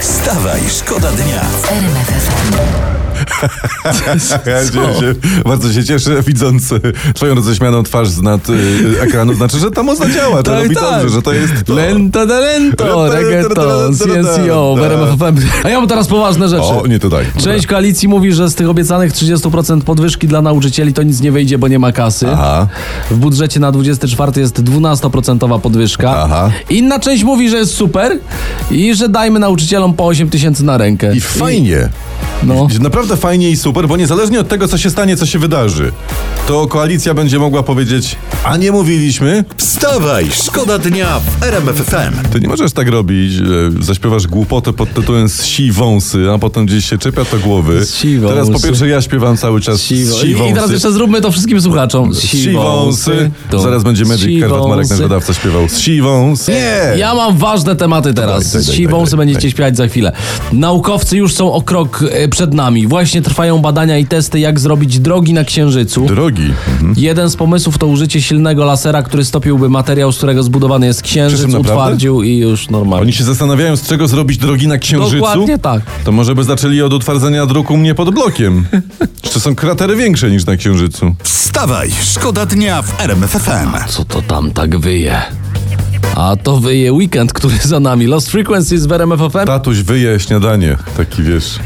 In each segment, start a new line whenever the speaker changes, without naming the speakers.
Wstawaj, szkoda dnia.
Ja się, się, bardzo się cieszę, widząc e, twoją roześmianą twarz z nad e, ekranu. Znaczy, że ta mocno działa,
Tak,
to robi dobrze, że to jest to.
Lento da lento,
Lento,
reggaeton,
lento, lento,
CNCO, w
tak.
RMF FM. A ja mam teraz poważne rzeczy.
O, nie tak. tutaj.
Część koalicji mówi, że z tych obiecanych 30% podwyżki dla nauczycieli to nic nie wyjdzie, bo nie ma kasy.
Aha.
W budżecie na 24 jest 12% podwyżka.
Aha.
Inna część mówi, że jest super i że dajmy nauczycielom po 8 tysięcy na rękę.
I fajnie.
No.
Naprawdę fajnie i super, bo niezależnie od tego, co się stanie, co się wydarzy, to koalicja będzie mogła powiedzieć, a nie mówiliśmy?
Wstawaj, szkoda dnia w RMF FM.
Ty nie możesz tak robić, że zaśpiewasz głupotę pod tytułem z si wąsy, a potem gdzieś się czepia to głowy.
Z si wąsy.
Teraz po pierwsze ja śpiewam cały czas
Si-
z si
I, I teraz
wąsy.
jeszcze zróbmy to wszystkim słuchaczom.
Siwąsy.
to
Zaraz będzie
si
Medic Karwat Marek,
wąsy.
nasz wydawca, śpiewał z Siwąsy. Nie!
Ja mam ważne tematy teraz.
Daj, daj, daj,
Z siwą
daj,
se
daj,
będziecie
daj.
śpiewać za chwilę. Naukowcy już są o krok e, przed nami. Właśnie trwają badania i testy, jak zrobić drogi na Księżycu.
Drogi. Mhm.
Jeden z pomysłów to użycie silnego lasera, który stopiłby materiał, z którego zbudowany jest
Czy
Księżyc,
to naprawdę?
utwardził i już normalnie.
Oni się zastanawiają, z czego zrobić drogi na Księżycu?
Dokładnie tak.
To może by zaczęli od utwardzenia druku mnie pod blokiem. Czy to są kratery większe niż na Księżycu?
Wstawaj, szkoda dnia w RMF FM.
Co to tam tak wyje? A to wyje weekend, który za nami. Lost Frequencies w RMF FM.
Tatuś wyje śniadanie. Taki wiesz.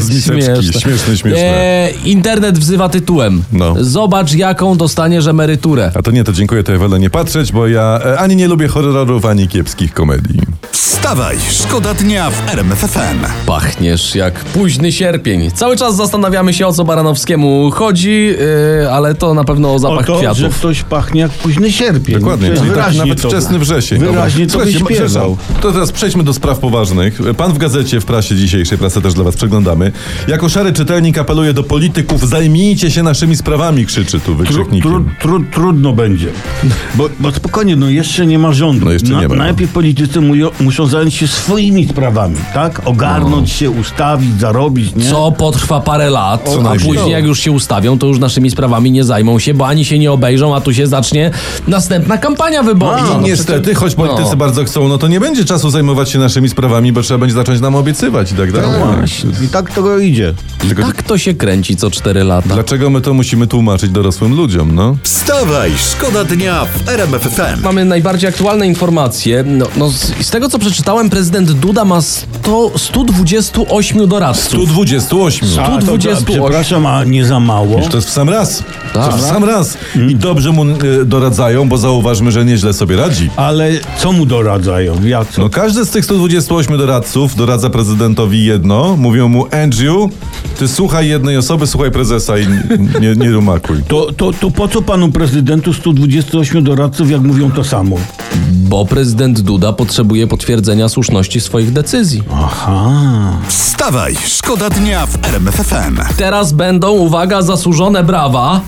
Z miseczki. Śmieszne, śmieszne.
E, internet wzywa tytułem.
No.
Zobacz, jaką dostaniesz emeryturę.
A to nie, to dziękuję, to ja wolę nie patrzeć, bo ja e, ani nie lubię horrorów, ani kiepskich komedii.
Wstawaj, szkoda dnia w RMF FM.
Pachniesz jak późny sierpień. Cały czas zastanawiamy się, o co Baranowskiemu chodzi, yy, ale to na pewno o zapach
o to, że
kwiatów.
ktoś pachnie jak późny sierpień.
Dokładnie,
Przecież
czyli tak
wyraźnie
nawet
to,
wczesny wrzesień. No
Wyraźnie to
Słuchajcie,
wyśpiewał.
przepraszam, to teraz przejdźmy do spraw poważnych. Pan w gazecie, w prasie dzisiejszej, prasę też dla was przeglądamy. Jako szary czytelnik apeluje do polityków, zajmijcie się naszymi sprawami, krzyczy tu
Tru, tru,
wykrzyknikiem.
tru, trudno będzie. Bo, bo spokojnie, no jeszcze nie ma rządu.
No jeszcze nie ma, no.
Najpierw politycy mu- muszą zająć się swoimi sprawami, tak?
No.
Ogarnąć się, ustawić, zarobić, nie?
Co potrwa parę lat, a
najmniej.
później jak już się ustawią, to już naszymi sprawami nie zajmą się, bo ani się nie obejrzą, a tu się zacznie następna kampania wyborcza.
I
No
niestety, choć politycy
no.
bardzo chcą, no to nie będzie czasu zajmować się naszymi sprawami, bo trzeba będzie zacząć nam obiecywać i tak dalej.
No I tak to idzie.
Tylko-
Tak to się kręci co cztery lata.
Dlaczego my to musimy tłumaczyć dorosłym ludziom, no?
Wstawaj, szkoda dnia w RMF FM.
Mamy najbardziej aktualne informacje. No, no z, z tego co przeczytałem, prezydent Duda ma 100, 128 doradców.
128.
A, to-
128.
Przepraszam, a nie za mało.
To jest w sam raz.
Tak.
To w sam raz. I dobrze mu e, doradzają, bo zauważmy, że nieźle sobie radzi.
Ale co mu doradzają? Ja co?
No każdy z tych 128 doradców doradza prezydentowi jedno. Mówią mu, Andrew, ty słuchaj jednej osoby, słuchaj prezesa i n- nie, nie rumakuj.
To, to, to po co panu prezydentu 128 doradców, jak mówią to samo?
Bo prezydent Duda potrzebuje potwierdzenia słuszności swoich decyzji.
Aha.
Wstawaj, szkoda dnia w RMF FM.
Teraz będą, uwaga, zasłużone brawa,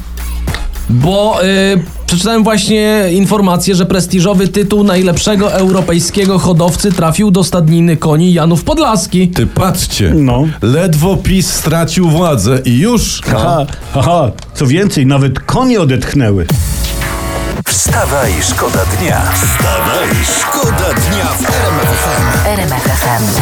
bo y, przeczytałem właśnie informację, że prestiżowy tytuł najlepszego europejskiego hodowcy trafił do stadniny koni Janów Podlaski.
Ty patrzcie,
No. Tak.
ledwo PiS stracił władzę i już.
Aha, aha, co więcej, nawet konie odetchnęły.
Wstawaj, szkoda dnia. Wstawaj, szkoda dnia w RMF FM.
RMFFM.